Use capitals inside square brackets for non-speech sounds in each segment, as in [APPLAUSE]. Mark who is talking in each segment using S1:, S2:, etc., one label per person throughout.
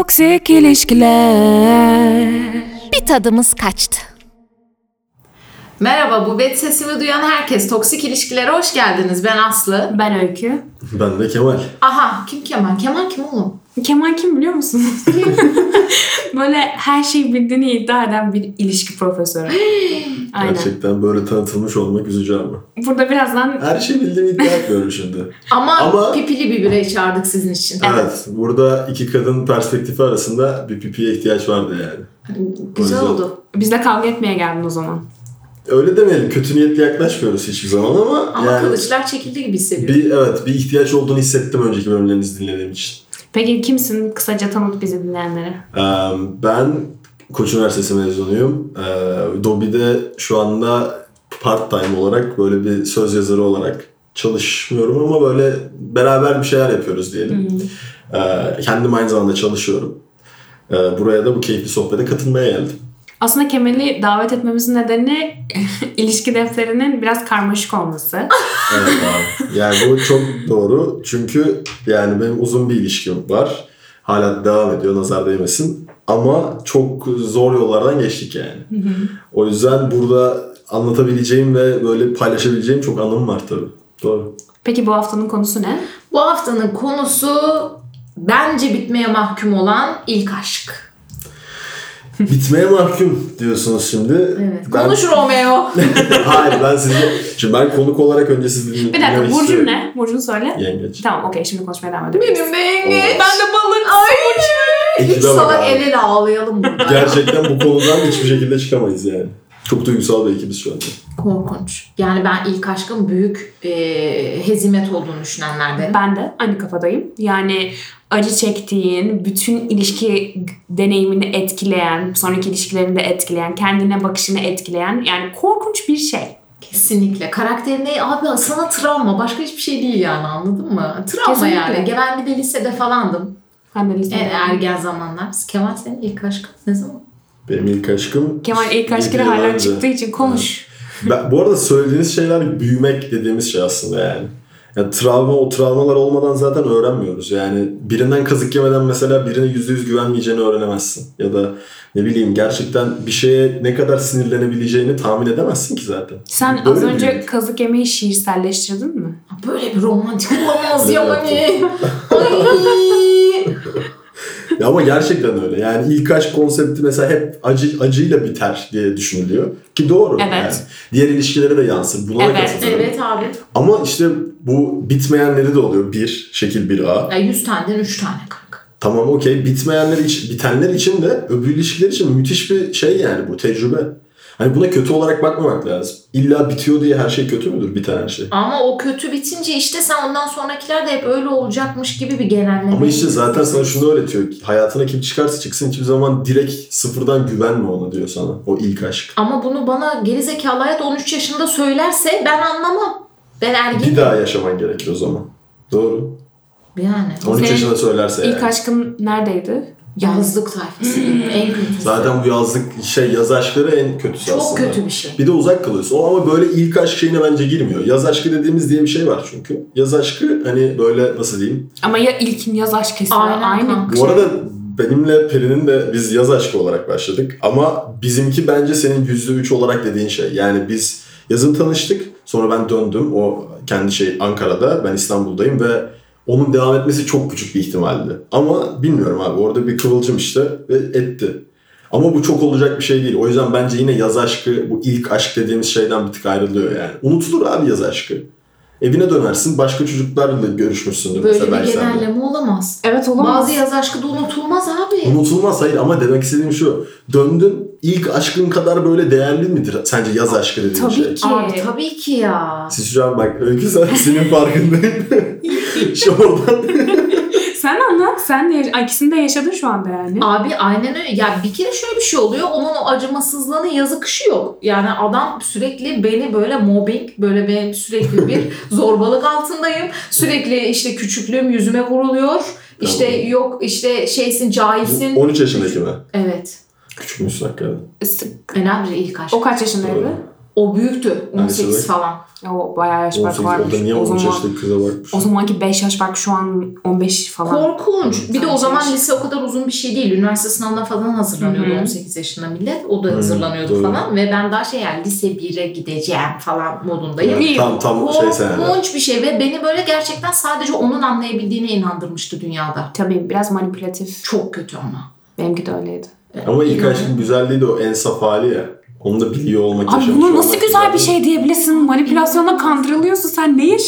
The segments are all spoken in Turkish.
S1: Toksik ilişkiler.
S2: Bir tadımız kaçtı.
S3: Merhaba, bu bet sesimi duyan herkes. Toksik ilişkilere hoş geldiniz. Ben Aslı.
S1: Ben Öykü.
S4: Ben de Kemal.
S3: Aha, kim Kemal? Kemal kim oğlum?
S1: Kemal kim biliyor [LAUGHS] musunuz? Böyle her şeyi bildiğini iddia eden bir ilişki [GASPS] profesörü. Aynen.
S4: Gerçekten böyle tanıtılmış olmak üzücü ama.
S1: Burada birazdan
S4: Her şey bildiğini iddia etmiyorum şimdi.
S3: Ama,
S4: Ama-
S3: pipili bir birey çağırdık sizin için.
S4: Evet. Burada iki kadın perspektifi arasında bir pipiye ihtiyaç vardı yani.
S3: Güzel
S4: O yüzden-
S3: oldu.
S1: bizle kavga etmeye geldin o zaman.
S4: Öyle demeyelim. Kötü niyetli yaklaşmıyoruz hiçbir zaman ama,
S3: Ama
S4: yani
S3: kılıçlar çekildi gibi hissediyorum.
S4: bir evet bir ihtiyaç olduğunu hissettim önceki bölümlerinizi dinlediğim için.
S1: Peki kimsin? Kısaca tanıt bizi dinleyenlere.
S4: Ee, ben Koç Üniversitesi mezunuyum. Ee, Dobi'de şu anda part time olarak böyle bir söz yazarı olarak çalışmıyorum ama böyle beraber bir şeyler yapıyoruz diyelim. Ee, kendim aynı zamanda çalışıyorum. Ee, buraya da bu keyifli sohbete katılmaya geldim.
S1: Aslında Kemal'i davet etmemizin nedeni [LAUGHS] ilişki defterinin biraz karmaşık olması.
S4: Evet abi. Yani bu çok doğru. Çünkü yani benim uzun bir ilişkim var. Hala devam ediyor nazar değmesin. Ama çok zor yollardan geçtik yani. O yüzden burada anlatabileceğim ve böyle paylaşabileceğim çok anım var tabii.
S1: [LAUGHS]
S4: Doğru.
S1: Peki bu haftanın konusu ne?
S3: Bu haftanın konusu bence bitmeye mahkum olan ilk aşk.
S4: Bitmeye mahkum diyorsunuz şimdi.
S3: Evet.
S4: Ben-
S3: Konuş Romeo.
S4: [LAUGHS] Hayır ben sizi... Şimdi ben konuk olarak önce sizi dinlemek
S1: Bir dakika Burcun
S4: istiyorum.
S1: ne? Burcunu söyle.
S4: Yengeç.
S1: Tamam okey şimdi konuşmaya devam edelim.
S3: [LAUGHS] Benim de yengeç.
S4: Oo.
S3: Ben de balık. Ay.
S4: Ekibe
S3: Üç
S4: bak
S3: salak
S4: abi.
S3: el ele ağlayalım
S4: [LAUGHS]
S3: burada.
S4: Gerçekten bu konudan hiçbir şekilde çıkamayız yani. Çok duygusal bir ekibiz şu anda.
S3: Korkunç. Yani ben ilk aşkın büyük e, hezimet olduğunu düşünenlerdenim.
S1: Ben de aynı kafadayım. Yani acı çektiğin, bütün ilişki deneyimini etkileyen, sonraki ilişkilerini de etkileyen, kendine bakışını etkileyen yani korkunç bir şey.
S3: Kesinlikle. Karakterine abi sana travma. Başka hiçbir şey değil yani anladın mı? Travma
S1: Kesinlikle.
S3: yani. Ben bir de lisede falandım.
S1: Ben de lisede-
S3: En ergen zamanlar. Kemal senin ilk aşkın ne zaman?
S4: Benim ilk aşkım...
S1: Kemal ilk aşkına
S4: Yedi yıl
S1: hala
S4: önce.
S1: çıktığı için konuş.
S4: Ben- bu arada söylediğiniz şeyler büyümek dediğimiz şey aslında yani. Yani travma o travmalar olmadan zaten öğrenmiyoruz. Yani birinden kazık yemeden mesela birine yüzde yüz güvenmeyeceğini öğrenemezsin. Ya da ne bileyim gerçekten bir şeye ne kadar sinirlenebileceğini tahmin edemezsin ki zaten.
S1: Sen
S4: Böyle
S1: az önce
S4: büyümek.
S1: kazık yemeği şiirselleştirdin mi?
S3: Böyle bir romantik olamaz ya
S4: Evet,
S3: hani.
S4: Ya ama gerçekten öyle. Yani ilk aşk konsepti mesela hep acı acıyla biter diye düşünülüyor. Ki doğru
S1: Evet.
S4: yani. Diğer ilişkilere de yansır. Buna da
S1: Evet,
S4: katılıyorum.
S3: evet abi.
S4: Ama işte bu bitmeyenleri de oluyor. Bir, şekil 1A.
S3: Ya 100 taneden 3 tane kanka.
S4: Tamam okey. Bitmeyenler için, bitenler için de öbür ilişkiler için müthiş bir şey yani bu tecrübe. Hani buna kötü olarak bakmamak lazım. İlla bitiyor diye her şey kötü müdür biten her şey?
S3: Ama o kötü bitince işte sen ondan sonrakiler de hep öyle olacakmış gibi bir genelleme.
S4: Ama işte zaten sana şunu öğretiyor. Hayatına kim çıkarsa çıksın hiçbir zaman direkt sıfırdan güvenme ona diyor sana. O ilk aşk.
S3: Ama bunu bana gerizekalı hayat 13 yaşında söylerse ben anlamam. Ben
S4: Bir
S3: ergen
S4: daha yaşaman gerekiyor o zaman. Doğru.
S3: yani.
S4: 13
S1: Senin
S4: yaşında söylerse
S1: İlk
S4: yani.
S1: aşkın neredeydi?
S3: Yazlık tayfası en kötüsü.
S4: Zaten bu yazlık şey yaz aşkları en kötüsü
S3: Çok
S4: aslında.
S3: kötü bir şey.
S4: Bir de uzak kalıyorsun. O ama böyle ilk aşk şeyine bence girmiyor. Yaz aşkı dediğimiz diye bir şey var çünkü. Yaz aşkı hani böyle nasıl diyeyim.
S1: Ama ya ilkin yaz aşk kesin.
S3: Aynen
S1: Aynı.
S3: kanka.
S4: Bu arada benimle Peri'nin de biz yaz aşkı olarak başladık. Ama bizimki bence senin yüzde üç olarak dediğin şey. Yani biz yazın tanıştık. Sonra ben döndüm. O kendi şey Ankara'da. Ben İstanbul'dayım ve onun devam etmesi çok küçük bir ihtimaldi. Ama bilmiyorum abi. Orada bir kıvılcım işte ve etti. Ama bu çok olacak bir şey değil. O yüzden bence yine yaz aşkı bu ilk aşk dediğimiz şeyden bir tık ayrılıyor yani. Unutulur abi yaz aşkı. Evine dönersin. Başka çocuklarla görüşmüşsündür.
S3: Böyle
S4: mesela
S3: bir
S4: belki sen de.
S3: genelleme olamaz.
S1: Evet olamaz.
S3: Bazı yaz aşkı da unutulmaz abi.
S4: Unutulmaz hayır ama demek istediğim şu. Döndün ilk aşkın kadar böyle değerli midir sence yaz aşkı dediğin
S1: Tabii
S4: şey?
S1: ki.
S3: Abi tabii ki ya.
S4: Siz şu an bak öykü sen [LAUGHS]
S1: [LAUGHS]
S4: senin farkındayım. şu oradan.
S1: Sen anlat. Sen de, yaş- Ay, ikisini de yaşadın şu anda yani.
S3: Abi aynen öyle. Ya bir kere şöyle bir şey oluyor. Onun o acımasızlığının yazı kışı yok. Yani adam sürekli beni böyle mobbing, böyle ben sürekli bir
S4: [LAUGHS]
S3: zorbalık altındayım. Sürekli işte küçüklüğüm yüzüme vuruluyor. İşte
S4: Tamam.
S3: yok işte şeysin cahilsin.
S4: 13 yaşındaki mi?
S3: Evet.
S4: Küçük müsün hakikaten.
S1: S-
S3: Önemli bir ilk aşk.
S1: O kaç yaşındaydı?
S4: Doğru.
S3: O büyüktü.
S4: Yani
S3: 18
S4: şöyle-
S3: falan.
S1: O bayağı yaş farkı
S4: 18
S1: varmış.
S4: orada niye
S1: o
S4: 13
S1: zaman,
S4: yaşındaki kıza bakmış?
S1: o zamanki 5 yaş fark şu an 15 falan.
S3: Korkunç. Bir de o
S1: Sanki
S3: zaman
S1: yaş-
S3: lise o kadar uzun bir şey değil. Üniversite sınavına falan hazırlanıyordu
S1: Hı hı.
S3: 18 yaşında millet. O da
S4: Hı,
S3: hazırlanıyordu
S4: doğru.
S3: falan. Ve ben daha şey yani lise 1'e gideceğim falan modundayım.
S4: Evet, tam tam şey seneler.
S3: Korkunç bir şey ve beni böyle gerçekten sadece onun anlayabildiğine inandırmıştı dünyada.
S1: Tabii biraz manipülatif.
S3: Çok kötü ama.
S1: Benimki de öyleydi.
S4: Ama ilk aşkın güzelliği de o ensaf hali ya. Onu da biliyor olmak
S1: Abi
S4: yaşamış
S1: bunu nasıl
S4: olmak
S1: güzel
S4: güzel.
S1: bir şey diyebilirsin? Manipülasyonla kandırılıyorsun sen ne yaş?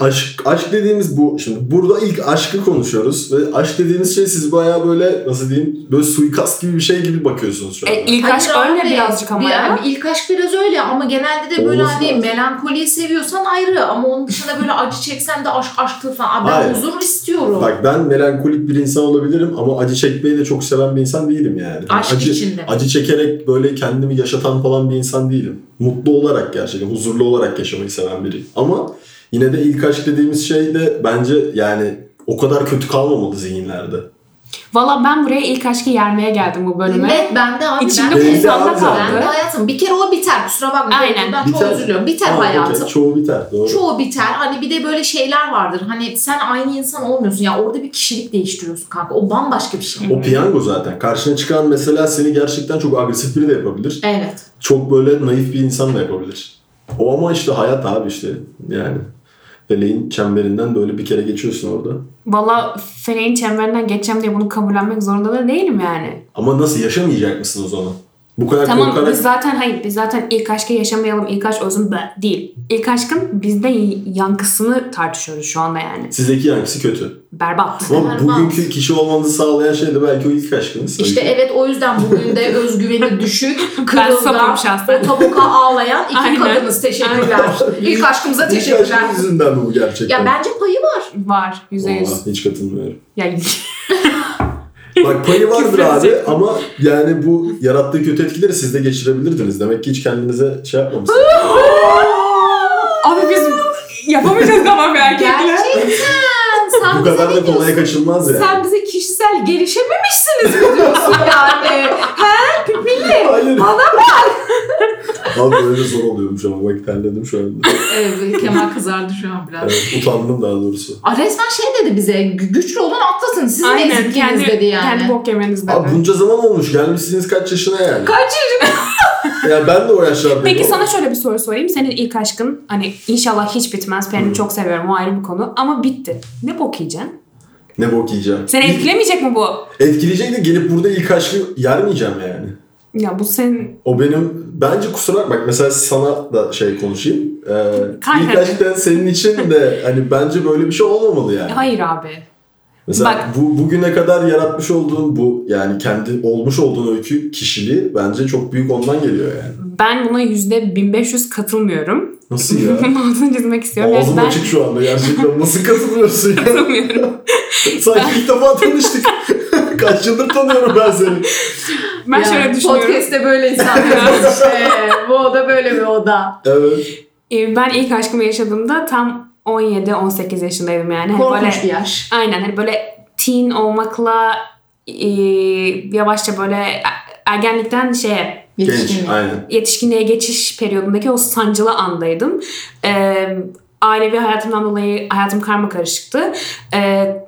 S4: Bu aşk, aşk dediğimiz bu. Şimdi burada ilk aşkı konuşuyoruz ve aşk dediğimiz şey siz bayağı böyle nasıl diyeyim böyle suikast gibi bir şey gibi bakıyorsunuz şu anda.
S1: E, ilk
S3: Hayır
S1: aşk
S3: abi,
S1: öyle birazcık ama
S3: bir-
S1: ya.
S3: yani ilk aşk biraz öyle ama genelde de böyle
S4: Olması
S3: hani
S4: lazım.
S3: melankoliyi seviyorsan ayrı ama onun dışında böyle acı çeksen de aşk aşktır falan. Abi ben
S4: Hayır.
S3: huzur istiyorum.
S4: Bak ben melankolik bir insan olabilirim ama acı çekmeyi de çok seven bir insan değilim yani.
S3: aşk
S4: acı,
S3: içinde.
S4: acı çekerek böyle kendimi yaşatan falan bir insan değilim. Mutlu olarak gerçekten, huzurlu olarak yaşamayı seven biriyim. Ama yine de ilk aşk dediğimiz şey de bence yani o kadar kötü kalmamalı zihinlerde.
S1: Valla ben buraya ilk aşkı yermeye geldim bu bölüme.
S3: Evet bende abi.
S1: İçimde
S4: Belli
S1: bu
S4: abi
S1: zamda
S4: zaten.
S1: kaldı.
S3: Bende hayatım. Bir kere o biter. Kusura bakma.
S1: Aynen.
S3: Ben çok
S4: Biter.
S3: özür diliyorum. Biter
S4: Ha, okey.
S3: hayatım.
S4: Çoğu biter doğru.
S3: Çoğu biter. Hani bir de böyle şeyler vardır. Hani sen aynı insan olmuyorsun. Ya orada bir kişilik değiştiriyorsun kanka. O bambaşka bir şey.
S4: O piyango zaten. Karşına çıkan mesela seni gerçekten çok agresif biri de yapabilir.
S3: Evet.
S4: Çok böyle naif bir insan da yapabilir. O ama işte hayat abi işte yani. Feleğin çemberinden böyle bir kere geçiyorsun orada.
S1: Valla feleğin çemberinden geçeceğim diye bunu kabullenmek zorunda da değilim yani.
S4: Ama nasıl yaşamayacak mısınız onu? Bu kadar
S1: Tamam
S4: korkarak
S1: biz zaten hayır biz zaten ilk aşkı yaşamayalım ilk aşk özüm be- değil. İlk aşkın bizde yankısını tartışıyoruz şu anda yani.
S4: sizdeki yankısı kötü.
S1: Berbat.
S4: Ama
S3: Berbat.
S4: bugünkü kişi olmanızı sağlayan şey de belki o ilk aşkınız.
S3: İşte evet o yüzden bugün de özgüveni [LAUGHS] düşük, kırılgan,
S1: sapım şahsen.
S3: o tabuka ağlayan iki
S1: Aynen.
S3: kadınız. Teşekkürler. İlk aşkımıza
S4: İlk
S3: teşekkürler.
S4: aşkınız yüzünden mi bu gerçekten?
S3: Ya bence payı var.
S1: Var yüzde yüz.
S4: Vallahi hiç katılmıyorum.
S1: Ya
S3: [LAUGHS]
S4: Bak payı vardır
S1: Küfür
S4: abi
S1: edecek.
S4: ama yani bu yarattığı kötü etkileri siz de geçirebilirdiniz. Demek ki hiç kendinize şey yapmamışsınız.
S1: [LAUGHS] abi biz yapamayacağız tamam bir erkekle.
S3: Gerçekten. Sen
S4: bu
S3: bize
S4: kadar
S3: ne
S4: da kolaya
S3: diyorsun?
S4: kaçılmaz yani.
S3: Sen bize kişisel gelişememişsiniz mi diyorsun yani? He? Pipilli.
S4: Hayır.
S3: Bana
S4: Abi öyle zor oluyormuş ama bak terledim şu anda.
S1: [LAUGHS]
S3: Evet, Kemal kızardı şu an biraz.
S4: Evet, utandım daha doğrusu.
S3: Aa, resmen şey dedi bize, "Gü- güçlü olan atlasın, sizin
S1: Aynen
S3: eziktiniz
S1: kendi,
S3: dedi yani.
S1: kendi bok yemeniz dedi.
S4: Abi bunca zaman olmuş. Gelmişsiniz kaç yaşına yani.
S3: Kaç yaşında?
S4: Ya ben de o yaşlardayım.
S1: Peki
S4: ama-
S1: sana şöyle bir soru sorayım. Senin ilk aşkın hani inşallah hiç bitmez.
S4: Hmm.
S1: Pelin'i çok seviyorum o ayrı bir konu. Ama bitti. Ne bok yiyeceksin?
S4: Ne bok yiyeceğim.
S1: Seni
S4: İlk-
S1: etkilemeyecek mi bu?
S4: Etkileyecek de gelip burada ilk aşkı yermeyeceğim yani.
S1: Ya bu senin...
S4: O benim bence kusura bakma. Mesela sana da şey konuşayım. Ee,
S1: Kaynadı.
S4: ilk aşktan senin için de hani bence böyle bir şey olmamalı yani.
S1: Hayır abi.
S4: Mesela
S1: Bak-
S4: bu bugüne kadar yaratmış olduğun bu yani kendi olmuş olduğun öykü kişiliği bence çok büyük ondan geliyor yani.
S1: Ben buna yüzde 1500 katılmıyorum.
S4: Nasıl ya?
S1: [LAUGHS] Altını çizmek istiyorum. Yani
S4: Ağzım
S1: ben
S4: açık şu anda gerçekten. Nasıl katılıyorsun
S1: [LAUGHS]
S4: ya?
S1: katılmıyorum.
S4: Sanki ilk
S1: [LAUGHS]
S4: defa tanıştık. Kaç yıldır tanıyorum ben seni.
S1: Ben şöyle düşünüyorum.
S3: Podcast'te böyle
S1: [LAUGHS]
S3: insanlarız işte. Bu oda böyle bir oda.
S4: Evet.
S1: Ee, Ben ilk aşkımı yaşadığımda tam 17-18 yaşındaydım yani. Hani böyle-
S3: Korkunç bir yaş.
S1: Aynen hani böyle teen olmakla e, yavaşça böyle ergenlikten şeye
S4: Genç
S3: Yetişkinlik.
S4: aynen.
S1: yetişkinliğe geçiş periyodundaki o sancılı andaydım. Ee, ailevi hayatımdan dolayı hayatım karma karışıktı.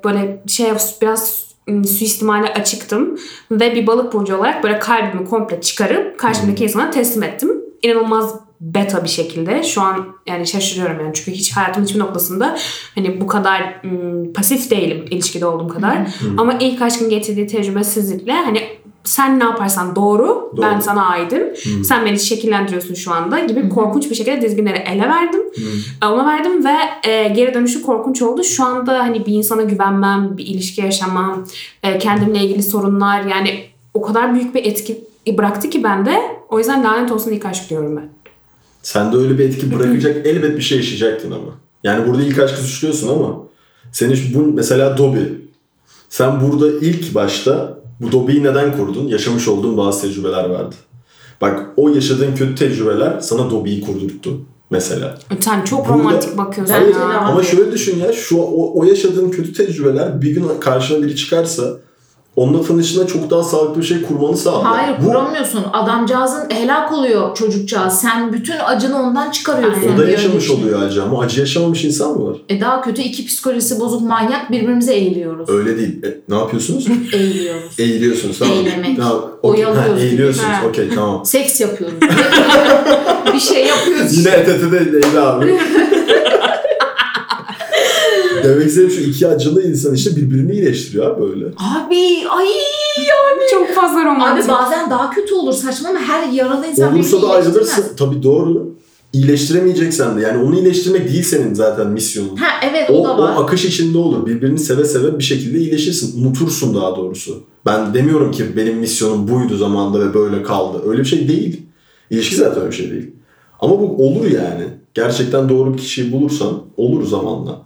S1: böyle şey biraz ım, suistimale açıktım ve bir balık burcu olarak böyle kalbimi komple çıkarıp
S3: Hmm.
S1: karşımdaki insana teslim ettim. İnanılmaz beta bir şekilde. Şu an yani şaşırıyorum yani çünkü hiç hayatımın hiçbir noktasında hani bu kadar ım, pasif değilim ilişkide olduğum kadar. Ama ilk aşkın getirdiği tecrübesizlikle hani sen ne yaparsan doğru, ben sana aidim.
S4: Hı.
S1: Sen beni şekillendiriyorsun şu anda gibi
S3: Hı.
S1: korkunç bir şekilde dizginleri ele verdim.
S4: Hı.
S1: Ona verdim ve e, geri dönüşü korkunç oldu. Şu anda hani bir insana güvenmem, bir ilişki yaşamam, e, kendimle ilgili sorunlar yani o kadar büyük bir etki bıraktı ki bende. O yüzden lanet olsun ilk aşk diyorum ben.
S4: Sen de öyle bir etki bırakacak elbet bir şey yaşayacaktın ama. Yani burada ilk aşkı suçluyorsun ama senin şu- bu mesela Dobby. Sen burada ilk başta bu Dobby'yi neden kurdun? Yaşamış olduğun bazı tecrübeler vardı. Bak o yaşadığın kötü tecrübeler sana Dobby'yi kurdurttu mesela.
S1: Sen çok
S4: Burada-
S1: romantik bakıyorsun
S3: Bence de
S1: ya.
S3: ama-
S4: Ama şöyle düşün ya şu o, o yaşadığın kötü tecrübeler bir gün karşına biri çıkarsa onunla tanıştığında çok daha sağlıklı bir şey kurmanı sağlıyor.
S3: Hayır
S4: Bu,
S3: kuramıyorsun. Adamcağızın helak oluyor çocukcağız. Sen bütün acını ondan çıkarıyorsun.
S4: o da
S3: diyor
S4: yaşamış
S3: işte.
S4: oluyor Alican. Ama acı yaşamamış insan mı var?
S3: E daha kötü iki psikolojisi bozuk manyak birbirimize eğiliyoruz.
S4: Öyle E- değil. E, ne yapıyorsunuz?
S3: Eğiliyoruz.
S4: Eğiliyorsunuz tamam.
S3: Eğilmek.
S4: Tamam, okey. Ha,
S3: Oyalıyoruz.
S4: eğiliyorsunuz.
S1: Ha.
S4: Okey
S3: [LAUGHS]
S4: tamam.
S3: Seks yapıyoruz. bir şey yapıyoruz.
S4: Yine ETT'de Leyla abi. Demek istediğim şu iki acılı insan işte birbirini iyileştiriyor abi böyle.
S3: Abi ay
S1: Hani Çok fazla
S3: Abi
S1: romantik.
S3: bazen daha kötü olur saçma ama her yaralı insan
S4: Olursa da
S3: birbirini iyileştirmez.
S4: ayrılırsın. Tabii doğru. İyileştiremeyeceksen de yani onu iyileştirmek değil senin zaten misyonun.
S3: Ha evet o,
S4: O,
S3: da
S4: o
S3: var.
S4: akış içinde olur. Birbirini seve seve bir şekilde iyileşirsin. Unutursun daha doğrusu. Ben demiyorum ki benim misyonum buydu zamanda ve böyle kaldı. Öyle bir şey değil. İlişki zaten öyle bir şey değil. Ama bu olur yani. Gerçekten doğru bir kişiyi bulursan olur zamanla.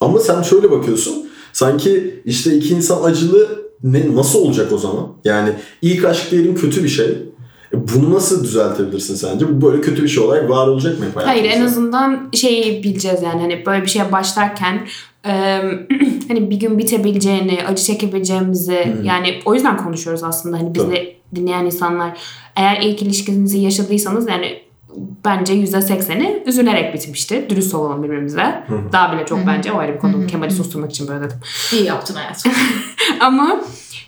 S4: Ama sen şöyle bakıyorsun. Sanki işte iki insan acılı ne nasıl olacak o zaman? Yani ilk aşk diyelim kötü bir şey. E Bunu nasıl düzeltebilirsin sence? Bu böyle kötü bir şey olarak var olacak mı hep
S1: Hayır en
S4: hayatımızda?
S1: azından şeyi bileceğiz yani hani böyle bir şeye başlarken e, [CLEARS THROAT] hani bir gün bitebileceğini, acı çekebileceğimizi
S4: Hı.
S1: yani o yüzden konuşuyoruz aslında hani bizi dinleyen insanlar eğer ilk ilişkinizi yaşadıysanız yani bence %80'i üzülerek bitmişti. Dürüst olalım birbirimize.
S4: Hı hı.
S1: Daha bile çok bence o ayrı bir
S3: Hı
S1: konu.
S3: hı.
S1: Kemal'i susturmak için böyle dedim. [LAUGHS]
S3: İyi yaptın hayatım.
S1: Ama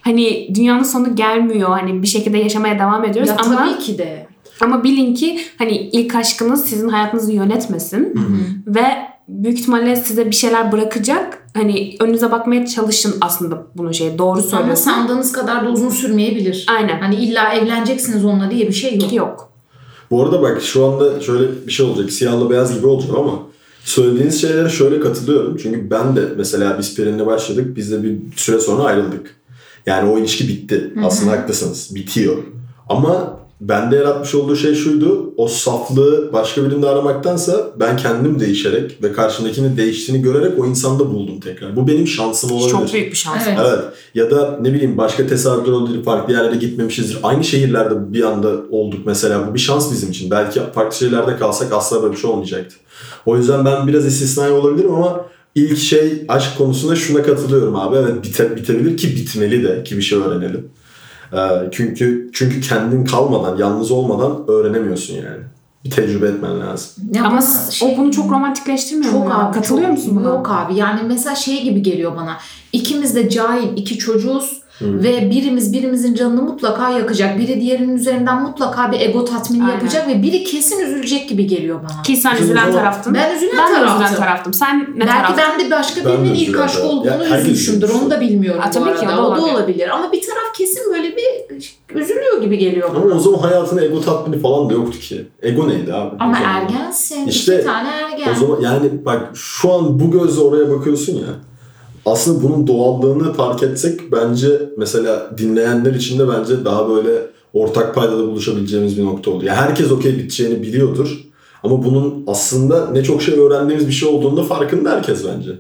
S1: hani dünyanın sonu gelmiyor. Hani bir şekilde yaşamaya devam ediyoruz
S3: ya
S1: ama
S3: tabii ki de.
S1: ama bilin ki hani ilk aşkınız sizin hayatınızı yönetmesin
S4: Hı hı.
S1: ve büyük ihtimalle size bir şeyler bırakacak. Hani önünüze bakmaya çalışın aslında bunu şey doğru
S3: Ama
S1: söylüyorsun.
S3: sandığınız kadar da uzun sürmeyebilir.
S1: Aynen.
S3: Hani illa evleneceksiniz onunla diye bir şey yok.
S1: Yok.
S4: Bu arada bak şu anda şöyle bir şey olacak. Siyahla beyaz gibi olacak ama söylediğiniz şeylere şöyle katılıyorum. Çünkü ben de mesela biz Perin'le başladık. Biz de bir süre sonra ayrıldık. Yani o ilişki bitti. Aslında haklısınız. Bitiyor. Ama bende yaratmış olduğu şey şuydu. O saflığı başka birinde aramaktansa ben kendim değişerek ve karşımdakinin değiştiğini görerek o insanda buldum tekrar. Bu benim şansım olabilir.
S1: Çok büyük bir şans.
S3: Evet.
S4: Evet. Ya da ne bileyim başka tesadüfler olabilir. Farklı yerlere gitmemişizdir. Aynı şehirlerde bir anda olduk mesela. Bu bir şans bizim için. Belki farklı şehirlerde kalsak asla böyle bir şey olmayacaktı. O yüzden ben biraz istisnai olabilirim ama ilk şey aşk konusunda şuna katılıyorum abi. Evet bite, bitebilir ki bitmeli de ki bir şey öğrenelim. Ee, çünkü çünkü kendin kalmadan, yalnız olmadan öğrenemiyorsun yani. Bir tecrübe etmen lazım.
S3: Ya
S1: Ama
S3: bana
S1: o bunu çok romantikleştirmiyor mu?
S3: şey- Çok
S1: ya?
S3: abi.
S1: Katılıyor
S3: çok-
S1: musun buna?
S3: Yok abi. Yani mesela şey gibi geliyor bana. İkimiz de cahil iki çocuğuz.
S4: Hı.
S3: Ve birimiz birimizin canını mutlaka yakacak. Biri diğerinin üzerinden mutlaka bir ego tatmini
S1: Aynen.
S3: yapacak ve biri kesin üzülecek gibi geliyor bana.
S1: Ki sen
S4: Bizim
S1: üzülen
S4: o-
S1: taraftın.
S3: Ben üzülen
S1: Ben de
S3: taraftım.
S1: üzülen taraftım. Sen ne
S3: Belki
S1: taraftın?
S3: ben de başka
S4: Ben de
S3: birinin ilk
S4: üzülen
S3: aşk
S4: taraf. Ya
S3: olduğunu
S4: herkes
S3: üzülmüşümdür.
S4: üzülmüş.
S3: Onu da bilmiyorum
S1: Ha,
S3: bu
S1: tabii
S3: arada.
S1: ki, o da
S3: o da
S1: olabilir.
S3: olabilir. Ama bir taraf kesin böyle bir üzülüyor gibi geliyor
S4: Ama
S3: bana.
S4: o zaman hayatında ego tatmini falan da yoktu ki. Ego neydi abi?
S3: Ama
S4: O zaman?
S3: ergensin.
S4: İşte
S3: İki tane ergen.
S4: O zaman yani bak şu an bu gözle oraya bakıyorsun ya. Aslında bunun doğallığını fark etsek bence mesela dinleyenler için de bence daha böyle ortak paydada buluşabileceğimiz bir nokta oldu. Ya herkes okey biteceğini biliyordur. Ama bunun aslında ne çok şey öğrendiğimiz bir şey olduğunda farkında herkes bence.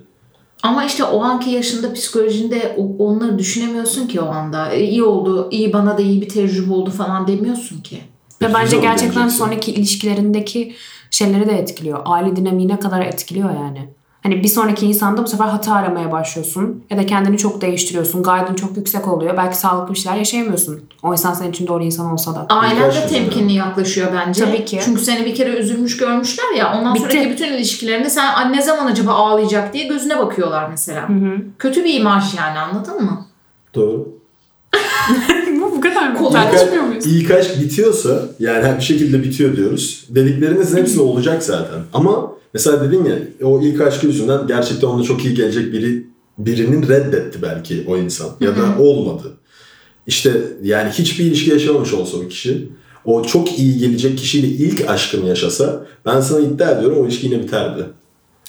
S3: Ama işte o anki yaşında psikolojinde o- onları düşünemiyorsun ki o anda. E, İyi oldu, iyi bana da iyi bir tecrübe oldu falan demiyorsun ki.
S1: Ve bence
S4: Üzücü
S1: gerçekten
S4: olabileceksin.
S1: sonraki ilişkilerindeki şeyleri de etkiliyor. Aile dinamiğine kadar etkiliyor yani. Hani bir sonraki insanda bu sefer hata aramaya başlıyorsun. Ya da kendini çok değiştiriyorsun. Gaydın çok yüksek oluyor. Belki sağlıklı bir şeyler yaşayamıyorsun. O insan senin için doğru insan olsa da.
S3: Ailen de
S4: Birkaç yıl
S3: temkinli yaklaşıyor bence.
S1: Tabii ki.
S3: Çünkü seni bir kere üzülmüş görmüşler ya. Ondan
S1: Bitti.
S3: sonraki bütün ilişkilerinde sen "Ay, ne zaman acaba ağlayacak diye gözüne bakıyorlar mesela.
S1: Hı hı.
S3: Kötü bir imaj yani anladın mı?
S4: Doğru.
S1: [LAUGHS] bu bu kadar mı?
S3: Kolay.
S1: Tartışmıyor muyuz?
S4: İlk aşk bitiyorsa yani her bir şekilde bitiyor diyoruz. Dediklerinizin hepsi olacak zaten. Ama mesela dedin ya o ilk aşkı yüzünden gerçekten ona çok iyi gelecek biri birinin reddetti belki o insan ya da olmadı. İşte yani hiçbir ilişki yaşamamış olsa o kişi o çok iyi gelecek kişiyle ilk aşkını yaşasa ben sana iddia ediyorum o ilişki yine biterdi.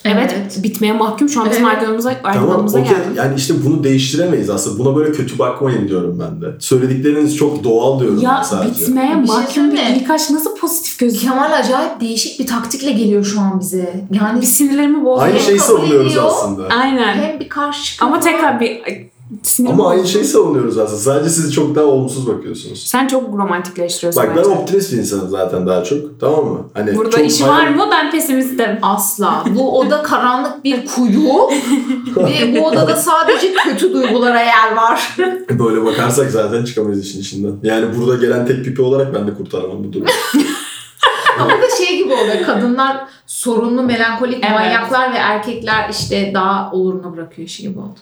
S1: Evet, bitmeye mahkum. Şu an bizim
S3: Evet.
S1: ayrılığımıza,
S4: Tamam
S1: ayrılığımıza
S4: okey.
S1: geldi.
S4: Yani işte bunu değiştiremeyiz aslında. Buna böyle kötü bakmayın diyorum ben de. Söyledikleriniz çok doğal diyorum ben
S1: Ya
S4: sadece.
S1: bitmeye
S3: Bir şey
S1: mahkum bir
S3: söyle.
S1: ilk aşk nasıl pozitif gözüküyor?
S3: Kemal acayip değişik bir taktikle geliyor şu an bize. Yani
S1: Bir sinirlerimi bozdu.
S4: Aynı şey. şeyi
S3: Kabul
S4: savunuyoruz
S3: ediyor.
S4: aslında.
S1: Aynen.
S3: hem bir karşı çıkıyor.
S1: Ama tekrar bir Sinirim
S4: Ama aynı şey-
S1: bozuldu.
S4: şeyi savunuyoruz aslında. Sadece siz çok daha olumsuz bakıyorsunuz.
S1: Sen çok romantikleştiriyorsun
S4: Bak ben
S1: bence.
S4: optimist bir insanım zaten daha çok. Tamam mı? Hani
S1: Burada
S4: çok
S1: işi
S4: hayal-
S1: var mı? Ben pesimistim.
S3: Asla. Bu oda karanlık bir kuyu ve bu odada sadece kötü duygulara yer
S1: [LAUGHS]
S3: var.
S4: [LAUGHS] Böyle bakarsak zaten çıkamayız işin içinden. Yani burada gelen tek pipi olarak ben de kurtaramam bu durumu.
S3: Ama da şey gibi oluyor. Kadınlar sorunlu, melankolik
S1: Evet.
S3: manyaklar ve erkekler işte daha oluruna bırakıyor şey gibi oldu.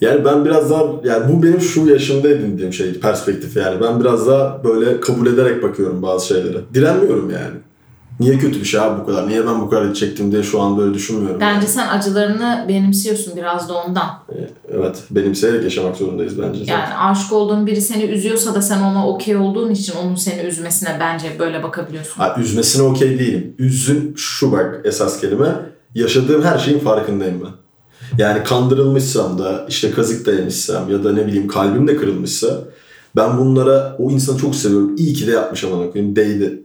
S4: Yani ben biraz daha yani bu benim şu yaşımda edindiğim şey perspektif yani. Ben biraz daha böyle kabul ederek bakıyorum bazı şeylere. Direnmiyorum yani. Niye kötü bir şey abi bu kadar? Niye ben bu kadar çektim diye şu an böyle düşünmüyorum.
S3: Bence sen acılarını benimsiyorsun biraz da ondan.
S4: Evet. Benimseyerek yaşamak zorundayız bence. zaten.
S3: Yani aşık olduğun biri seni üzüyorsa da sen ona okey olduğun için onun seni üzmesine bence böyle bakabiliyorsun.
S4: Ha, üzmesine okey değilim. Üzün şu bak esas kelime. Yaşadığım her şeyin farkındayım ben. Yani kandırılmışsam da işte kazık da yemişsem ya da ne bileyim kalbim de kırılmışsa ben bunlara o insanı çok seviyorum. İyi ki de yapmış amına koyayım değdi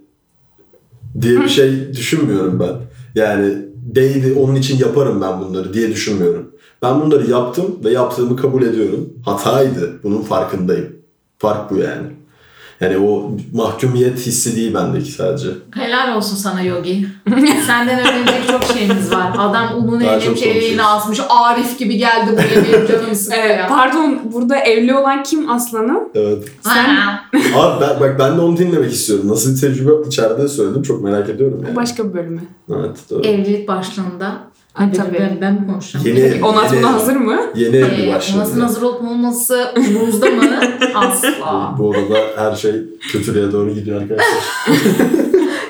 S4: diye bir şey düşünmüyorum ben. Yani değdi onun için yaparım ben bunları diye düşünmüyorum. Ben bunları yaptım ve yaptığımı kabul ediyorum. Hataydı. Bunun farkındayım. Fark bu yani. Yani o mahkumiyet hissi değil bendeki sadece.
S3: Helal olsun sana [LAUGHS] Yogi. Senden öğrenecek çok şeyimiz var. Adam unun
S4: Daha
S3: evlenip
S4: çok konuşuruz.
S3: evini asmış. Arif gibi geldi buraya benim canım sıkıyor.
S1: Ee, pardon burada evli olan kim aslanım?
S4: Evet.
S1: sen-
S3: Ha.
S4: Abi ben, bak ben de onu dinlemek istiyorum. Nasıl bir tecrübe içeride söyledim çok merak ediyorum yani.
S1: Başka bir bölümü.
S4: Evet doğru.
S3: Evlilik başlığında.
S1: Ha,
S3: Ben-
S1: tabii.
S3: Ben, ben mi konuşacağım?
S4: Yeni evli.
S1: Onat
S4: yeni
S1: buna
S4: evli.
S1: hazır mı?
S4: Yeni
S3: Ee,
S4: evli başladı.
S3: Onasın hazır olup olmaması umurumuzda [LAUGHS] mı? Asla.
S4: Bu arada her şey kötülüğe doğru gidiyor arkadaşlar.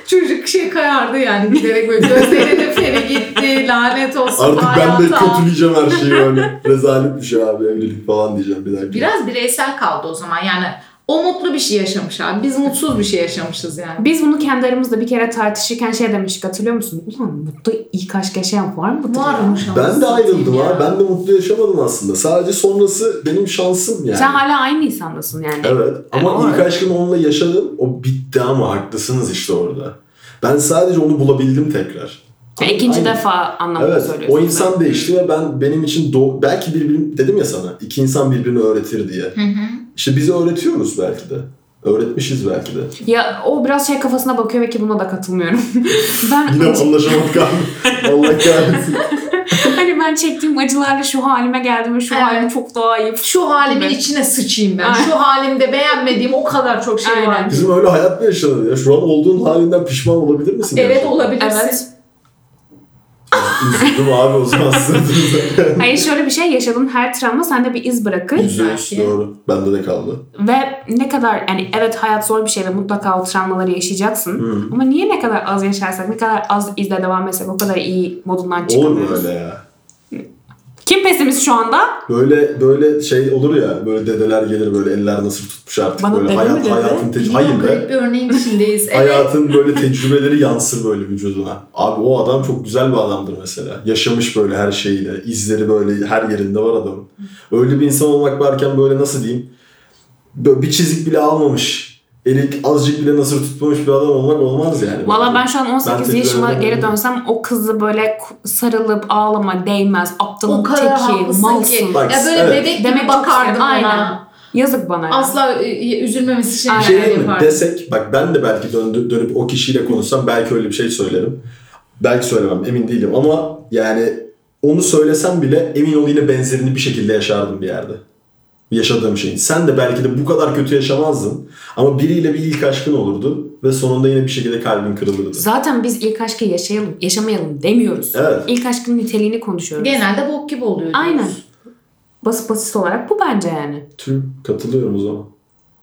S3: Çocuk şey kayardı yani giderek böyle gözlerinin feri gitti. Lanet olsun
S4: Artık ben de
S3: hayata.
S4: kötüleyeceğim her şeyi öyle. Rezalet bir şey abi evlilik falan diyeceğim bir dakika.
S3: Biraz bireysel kaldı o zaman yani. O mutlu bir şey yaşamış abi. Biz mutsuz bir şey yaşamışız yani.
S1: Biz bunu kendi aramızda bir kere tartışırken şey demiştik hatırlıyor musun? Ulan mutlu ilk aşk yaşayan var mı?
S3: Varmış ama
S4: Ben de
S3: satayım
S4: ayrıldım
S3: ya.
S4: ha. Ben de mutlu yaşamadım aslında. Sadece sonrası benim şansım yani.
S1: Sen hala aynı insandasın yani.
S4: Evet. Ama
S1: o
S4: ilk
S1: öyle.
S4: aşkımı onunla yaşadım. O bitti ama haklısınız işte orada. Ben sadece onu bulabildim tekrar.
S1: Ya Hani ikinci
S4: Aynen.
S1: defa anlamda
S4: Evet.
S1: söylüyorsun.
S4: O insan değişti ve ben benim için do- belki birbirini dedim ya sana iki insan birbirini öğretir diye.
S3: Hı hı.
S4: İşte bizi öğretiyoruz belki de. Öğretmişiz belki de.
S1: Ya o biraz şey kafasına bakıyor ve ki buna da
S4: [LAUGHS]
S1: katılmıyorum. ben
S4: Yine anlaşamadık abi. Allah kahretsin.
S1: hani ben çektiğim acılarla şu halime geldim ve şu
S3: Evet.
S1: halim çok daha iyi.
S3: Şu halimin
S1: Gibi.
S3: içine sıçayım ben.
S1: Aynen.
S3: Şu halimde beğenmediğim o kadar çok şey var.
S1: Aynen.
S4: Bizim öyle hayat mı yaşanır ya? Şu an olduğun halinden pişman olabilir misin?
S3: Evet
S4: gerçekten?
S3: olabilirsin.
S1: Evet.
S4: Üzüldüm abi o zaman sırtınıza.
S1: Hayır şöyle bir şey yaşadığın her travma sende bir iz bırakır.
S4: Yüzde yüz,
S3: Belki.
S4: doğru. Bende de kaldı.
S1: Ve ne kadar yani evet hayat zor bir şey ve mutlaka o travmaları yaşayacaksın.
S4: Hı.
S1: Ama niye ne kadar az yaşarsak, ne kadar az izle devam etsek o kadar iyi modundan
S4: Olur
S1: çıkamıyoruz.
S4: mu öyle ya?
S1: Kim pesimiz şu anda?
S4: Böyle böyle şey olur ya böyle dedeler gelir böyle eller nasıl tutmuş artık
S1: Bana
S4: böyle
S1: dede mi
S4: hayat
S1: dedi?
S4: hayatın tecrübe.
S3: Bilmiyorum,
S4: Hayır be.
S3: garip bir örneğin içindeyiz. evet.
S4: Hayatın böyle tecrübeleri yansır böyle vücuduna. Abi o adam çok güzel bir adamdır mesela. Yaşamış böyle her şeyiyle. izleri böyle her yerinde var adamın. Öyle bir insan olmak varken böyle nasıl diyeyim? Böyle bir çizik bile almamış. Eli azıcık bile nasır tutmamış bir adam olmak olmaz yani.
S1: Valla ben şu an 18
S4: Ben
S1: yaşıma
S4: tecrübelerim
S1: geri
S4: var.
S1: dönsem o kızı böyle ku- sarılıp ağlama değmez.
S3: O
S1: Aptalın
S3: kadar
S1: teki,
S3: haklısın ki.
S1: malsın.
S4: Bak,
S3: ya böyle
S4: evet.
S3: bebek gibi
S1: Demek çok
S3: bakardım
S1: sev-
S3: ona.
S1: Aynen. Yazık bana. ya.
S3: Asla e, üzülmemesi için
S1: Bir
S4: Bir şey
S3: neler
S4: diyeyim mi?
S3: yapardım.
S4: Desek bak ben de belki döndü, dönüp o kişiyle konuşsam belki öyle bir şey söylerim. Belki söylemem emin değilim ama yani onu söylesem bile emin ol yine benzerini bir şekilde yaşardım bir yerde. Yaşadığım şeyin. Sen de belki de bu kadar kötü yaşamazdın ama biriyle bir ilk aşkın olurdu ve sonunda yine bir şekilde kalbin kırılırdı.
S1: Zaten biz ilk aşkı yaşayalım, yaşamayalım demiyoruz.
S4: Evet.
S1: İlk aşkın niteliğini konuşuyoruz.
S3: Genelde bok gibi oluyor. diyoruz.
S1: Aynen. Basit basit olarak bu bence yani.
S4: Tüm katılıyorum o zaman.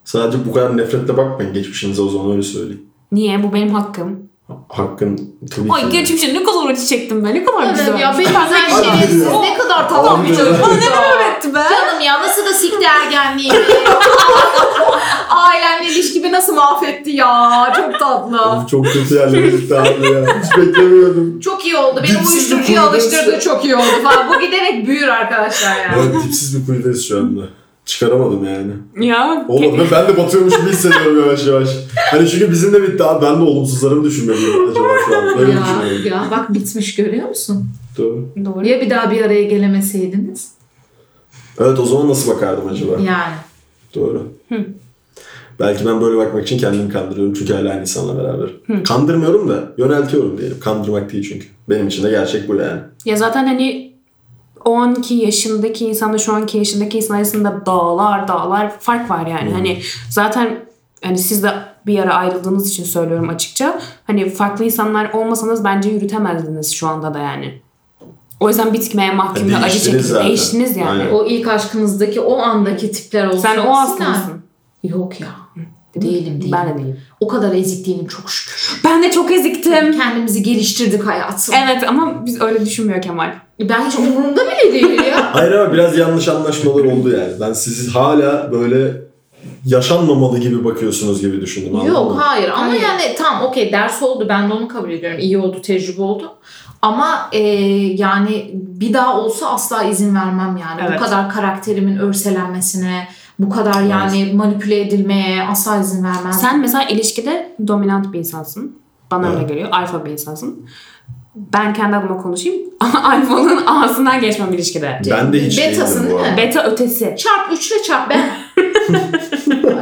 S4: Sadece bu kadar nefretle bakmayın geçmişinize o zaman öyle söyleyeyim.
S1: Niye? Bu benim hakkım.
S4: Hakkın tabii ki.
S1: Ay geçmişe ne kadar acı çektim ben. Ne kadar güzel.
S3: Evet ya
S1: olmuş. şey-
S3: benim güzel
S4: Hadi
S3: şerefsiz
S4: ya.
S3: ne kadar tatlı bir
S4: Hadi
S3: çocuk.
S4: ya.
S3: Bana ne
S1: Evet be.
S3: Canım ya nasıl da sikti
S1: [LAUGHS]
S3: ergenliği. Ailemle ilişkimi nasıl mahvetti ya. Çok tatlı.
S4: Of, çok kötü yerlere gitti abi ya. Hiç beklemiyordum.
S3: Çok iyi oldu. Benim
S4: Dipsiz
S3: uyuşturucuya
S4: bir kuyudayız.
S3: alıştırdığı çok iyi oldu falan. Bu giderek büyür arkadaşlar yani.
S4: Evet dipsiz bir kuyudayız şu anda. Çıkaramadım yani.
S1: Ya.
S4: Oğlum [LAUGHS] ben de batıyormuş gibi hissediyorum yavaş yavaş. Hani çünkü bizim de bitti abi. Ben de olumsuzlarımı düşünmeliyim acaba şu an. Böyle şey
S3: Ya,
S4: düşünüyorum.
S3: ya bak bitmiş görüyor musun?
S4: Doğru.
S1: Doğru.
S3: Ya bir daha bir araya gelemeseydiniz?
S4: Evet o zaman nasıl bakardım acaba?
S3: Yani.
S4: Doğru. Belki ben böyle bakmak için kendimi kandırıyorum çünkü hala aynı insanla beraber. Kandırmıyorum da yöneltiyorum diyelim. Kandırmak değil çünkü. Benim için de gerçek bu yani.
S1: Ya zaten hani o anki yaşındaki insanla şu anki yaşındaki insan arasında dağlar dağlar fark var
S4: Hmm.
S1: yani. Hani zaten hani siz de bir ara ayrıldığınız için söylüyorum açıkça. Hani farklı insanlar olmasanız bence yürütemezdiniz şu anda da yani. O yüzden bitmeye mahkum ve
S4: Yani
S1: acı
S4: E, değiştiniz
S1: çekici
S4: zaten.
S1: değiştiniz yani.
S4: Aynen.
S3: O ilk aşkınızdaki o andaki tipler olsa.
S1: Sen o hasta
S3: Sinan-
S1: mısın?
S3: Yok ya. Değilim değilim.
S1: Ben de değilim.
S3: O kadar ezik değilim çok şükür.
S1: Ben de çok eziktim.
S3: Kendimizi geliştirdik hayatım.
S1: Evet ama biz öyle düşünmüyor Kemal.
S3: Ben hiç umurumda bile değil ya.
S4: Hayır ama biraz yanlış anlaşmalar oldu yani. Ben sizi hala böyle yaşanmamalı gibi bakıyorsunuz gibi düşündüm. anladın
S3: Yok
S4: mı?
S3: hayır ama
S1: Hayır.
S3: yani tam okey ders oldu ben de onu kabul ediyorum. İyi oldu tecrübe oldu. Ama e, yani bir daha olsa asla izin vermem yani.
S1: Evet.
S3: Bu kadar karakterimin örselenmesine, bu kadar yani manipüle edilmeye asla izin vermem.
S1: Sen mesela ilişkide dominant bir insansın. Bana öyle
S4: Evet.
S1: geliyor. Alfa bir insansın. Ben kendi adıma konuşayım. [LAUGHS] Alfanın ağzından geçmem ilişkide.
S4: Ben de hiç
S3: Betasın
S4: değilim bu
S3: değil mi?
S4: arada.
S1: Beta ötesi.
S3: Çarp üçle çarp ben. Ve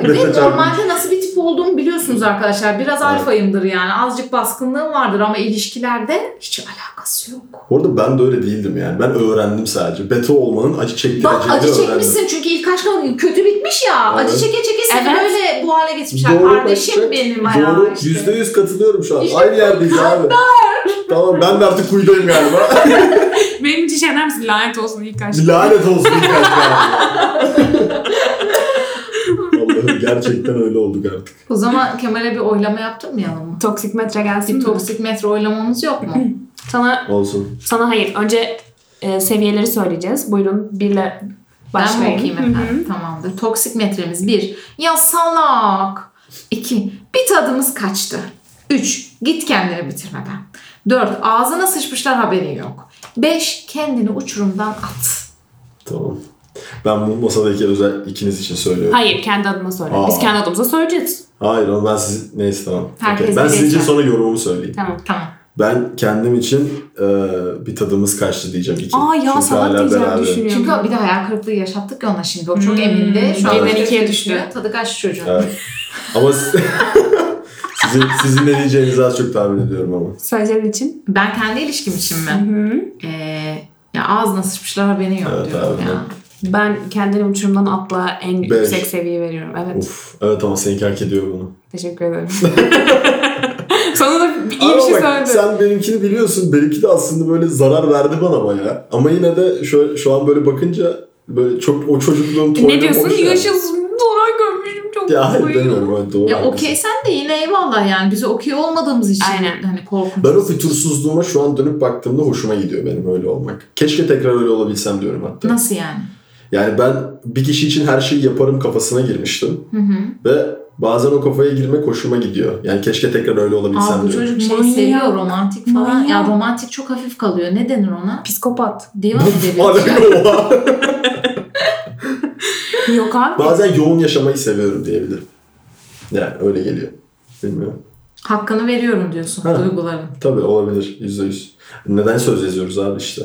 S4: Beta çarp
S3: normalde nasıl bir tip olduğumu biliyorsunuz arkadaşlar. Biraz alfayımdır yani. Azıcık baskınlığım vardır ama ilişkilerde hiç alakası yok.
S4: Bu arada ben de öyle değildim yani. Ben öğrendim sadece. Beta olmanın acı
S3: Bak
S4: çektireceğini
S3: acı
S4: öğrendim.
S3: çekmişsin çünkü ilk aşkın kötü bitmiş ya.
S4: Evet.
S3: Acı çeke çeke seni
S1: Evet.
S3: böyle bu hale getirmişler.
S4: Doğru
S3: Kardeşim
S4: bakacak.
S3: benim
S4: Doğru.
S3: ayağı işte.
S4: Yüzde yüz katılıyorum şu an.
S3: İşte
S4: Aynı yerdeyiz abi. Tamam ben de artık kuyudayım galiba.
S3: [LAUGHS]
S1: Benim için şey der misin? Lanet olsun ilk aşk.
S4: Lanet olsun ilk aşk
S3: [LAUGHS]
S4: Allah'ım gerçekten öyle olduk artık.
S3: O zaman Kemal'e bir oylama yaptırmayalım mı?
S1: Toksik metre
S3: Bir
S1: gelsin. Toksik.
S3: toksik metre oylamamız yok [LAUGHS] mu?
S1: Sana,
S4: Olsun.
S1: sana hayır. Önce e, seviyeleri söyleyeceğiz. Buyurun birle
S3: ben mi
S1: başlayın.
S3: okuyayım
S1: Hı hı.
S3: efendim? Tamamdır. Toksik metremiz 1. Ya salak. 2. Bir tadımız kaçtı. 3. Git kendini bitirmeden. 4. Ağzına sıçmışlar haberin yok. 5. Kendini uçurumdan at.
S4: Tamam. Ben bu masadaki özel ikiniz için söylüyorum.
S1: Hayır kendi adıma söyle.
S4: Aa.
S1: Biz kendi adımıza söyleyeceğiz.
S4: Hayır ama ben siz neyse tamam.
S1: Herkes
S4: Okey. Ben
S1: bir
S4: sizin için
S1: geçer.
S4: sonra yorumumu söyleyeyim.
S1: Tamam.
S3: Tamam.
S4: Ben kendim için e, bir tadımız kaçtı diyeceğim iki.
S1: Aa ya
S4: Çünkü
S1: salak
S4: hala
S1: diyeceğim
S4: beraberim.
S1: düşünüyorum.
S3: Çünkü bir de hayal kırıklığı yaşattık ya ona şimdi. O çok
S1: Hmm.
S3: eminde. Şu an
S1: Birden
S3: tadı
S1: ikiye
S3: kaçtı.
S1: düştü.
S3: Tadı kaçtı çocuğun.
S4: Evet. Ama si- [LAUGHS] sizin, sizin ne diyeceğinizi az çok tahmin ediyorum ama.
S1: Söyleyeceğin için.
S3: Ben kendi ilişkim için mi?
S1: Hı-hı.
S3: Ee, ya ağzına sıçmışlar haberin yok
S4: Evet,
S3: diyorum
S4: abi.
S3: ya.
S1: Ben kendini uçurumdan atla en
S4: Beş.
S1: yüksek seviyeyi veriyorum. Evet.
S4: Uf, evet ama seninki hak ediyor bunu.
S1: Teşekkür
S4: [LAUGHS]
S1: ederim. Sonunda iyi bir
S4: Ama
S1: şey
S4: bak,
S1: söyledin.
S4: Sen benimkini biliyorsun. Benimki de aslında böyle zarar verdi bana bayağı. Ama yine de şu, şu an böyle bakınca böyle çok o çocukluğum
S1: E, ne
S4: toyluğum
S1: diyorsun?
S4: hoş yani.
S1: Yaşasın. Dora görmüşüm. Çok
S4: Ya hayır
S1: mutluyum.
S4: demiyorum. Evet, doğru.
S3: Ya
S4: haklısın.
S3: okey sen de yine eyvallah yani. Biz okey olmadığımız için
S1: Aynen.
S3: hani korkunç.
S4: Ben o fütursuzluğuma şu an dönüp baktığımda hoşuma gidiyor benim öyle olmak. Keşke tekrar öyle olabilsem diyorum hatta.
S3: Nasıl yani?
S4: Yani ben bir kişi için her şeyi yaparım kafasına girmiştim.
S3: Hı hı.
S4: Ve bazen o kafaya girmek hoşuma gidiyor. Yani keşke tekrar öyle olabilsem
S3: Aa bu
S4: diyorum.
S3: çocuk şey
S1: Manyak.
S3: seviyor romantik falan.
S1: Manyak.
S3: Ya romantik çok hafif kalıyor. Ne denir ona?
S1: Psikopat.
S3: Divan edebiyatı.
S4: Alem oha.
S1: Yok abi.
S4: bazen yoğun yaşamayı seviyorum diyebilirim. Yani öyle geliyor. Bilmiyorum.
S3: Hakkını veriyorum diyorsun
S4: Ha.
S3: duyguların.
S4: Tabii olabilir. Yüzde yüz. Neden söz yazıyoruz abi işte.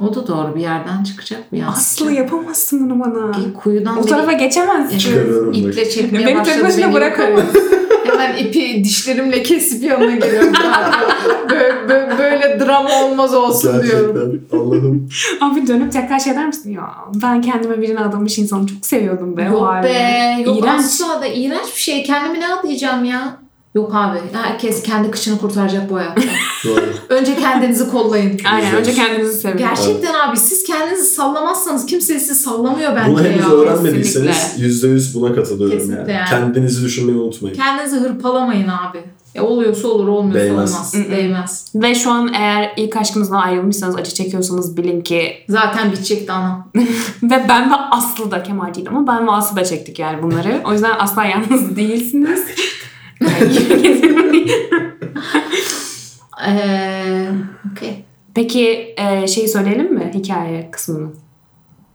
S3: O da doğru bir yerden çıkacak bir yansıtacak.
S1: Aslı yapamazsın bunu bana.
S3: Bir Kuyudan
S1: O tarafa
S3: biri-
S1: geçemezsin.
S4: Çıkarıyorum bak.
S3: İple çekmeye
S1: Beni
S3: başladı.
S1: tek başına
S3: beni
S1: bırakamaz.
S3: [LAUGHS] Hemen ipi dişlerimle kesip yanına geliyorum. böyle, böyle, böyle drama olmaz olsun diyorum.
S4: Gerçekten. Allah'ım.
S1: Abi dönüp tekrar şey der misin? Ya ben kendime birini adamış insanı çok seviyordum be. o
S3: Yok
S1: halde.
S3: be. Yok
S1: İğrenç.
S3: asla da iğrenç bir şey. Kendimi ne adayacağım ya? Yok abi. Herkes kendi kışını kurtaracak
S1: [LAUGHS]
S3: bu hayatta.
S4: Doğru.
S3: Önce kendinizi kollayın.
S1: Aynen
S4: Güzel.
S1: önce kendinizi sevin.
S3: Gerçekten abi siz kendinizi sallamazsanız kimse sizi sallamıyor [LAUGHS] bence
S4: Bunu henüz
S3: ya.
S4: öğrenmediyseniz yüzde yüz buna katılıyorum
S3: Kesinlikle yani.
S4: yani. Kendinizi düşünmeyi unutmayın.
S3: Kendinizi hırpalamayın abi. Ya oluyorsa olur, olmuyorsa
S4: Değmez.
S3: olmaz.
S1: Mm-mm.
S3: Değmez.
S1: Ve şu an eğer ilk aşkınızdan ayrılmışsanız acı çekiyorsanız bilin ki
S3: Zaten bitecekti anam.
S1: ve ben ve Aslı da Kemal değil ama ben ve Aslı da çektik yani bunları. O yüzden asla yalnız [LAUGHS]
S3: [LAUGHS]
S1: değilsiniz.
S3: Ee, okey. Ee,
S1: Peki e, şey söyleyelim mi hikaye kısmını?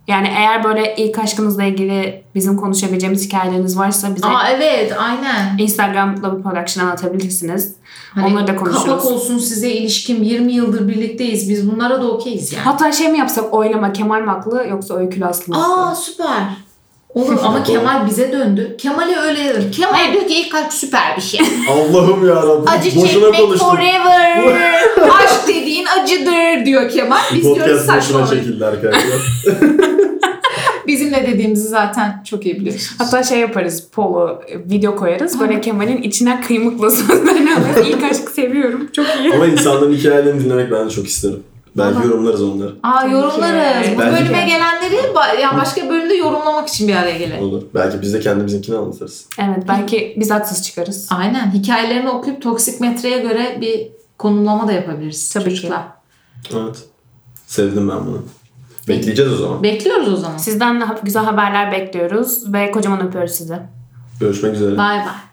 S1: Yani eğer böyle ilk aşkınızla ilgili bizim konuşabileceğimiz hikayeleriniz varsa bize
S3: Aa evet aynen.
S1: Instagram Love Production'a atabilirsiniz.
S3: Hani
S1: Onları da konuşuruz.
S3: Kapak olsun size ilişkim 20 yıldır birlikteyiz biz bunlara da okeyiz yani.
S1: Hatta şey mi yapsak oylama Kemal mi haklı yoksa Öykü Aslı mı? haklı?
S3: Aa süper. Olur
S4: [LAUGHS]
S3: ama Kemal bize döndü. Kemal'e öyle dedim. Kemal diyor ki ilk aşk süper bir
S4: [LAUGHS]
S3: şey.
S4: Allah'ım yarabbim.
S3: Acı
S4: boşuna
S3: çekmek
S4: konuştum.
S3: forever. [LAUGHS] aşk dediğin acıdır diyor Kemal. Biz diyoruz
S4: Podcast boşuna
S3: saçmalama. [LAUGHS]
S4: çekildi arkadaşlar.
S3: Bizim ne dediğimizi zaten çok iyi biliyorsunuz.
S1: Hatta şey yaparız polo e, video koyarız. Böyle Kemal'in içinden kıymıkla sözlerini alırız. İlk aşkı seviyorum. Çok iyi.
S4: Ama insanların hikayelerini dinlemek ben de çok isterim. Belki yorumlarız onları.
S3: Aa
S1: Tabii
S3: yorumlarız.
S1: ki.
S3: Bu
S4: Bence
S3: bölüme
S1: de.
S3: gelenleri ba- ya başka bölümde yorumlamak için bir araya gelelim.
S4: Olur. Belki biz de kendimizinkini anlatırız.
S1: Evet belki biz haksız çıkarız.
S3: Aynen. Hikayelerini okuyup toksik metreye göre bir konumlama da yapabiliriz.
S1: Tabii ki.
S3: çocuklar.
S4: Evet. Sevdim ben bunu. Bekleyeceğiz o zaman.
S3: Bekliyoruz o zaman.
S1: Sizden daha güzel haberler bekliyoruz ve kocaman öpüyoruz sizi.
S4: Görüşmek üzere.
S3: Bay bay.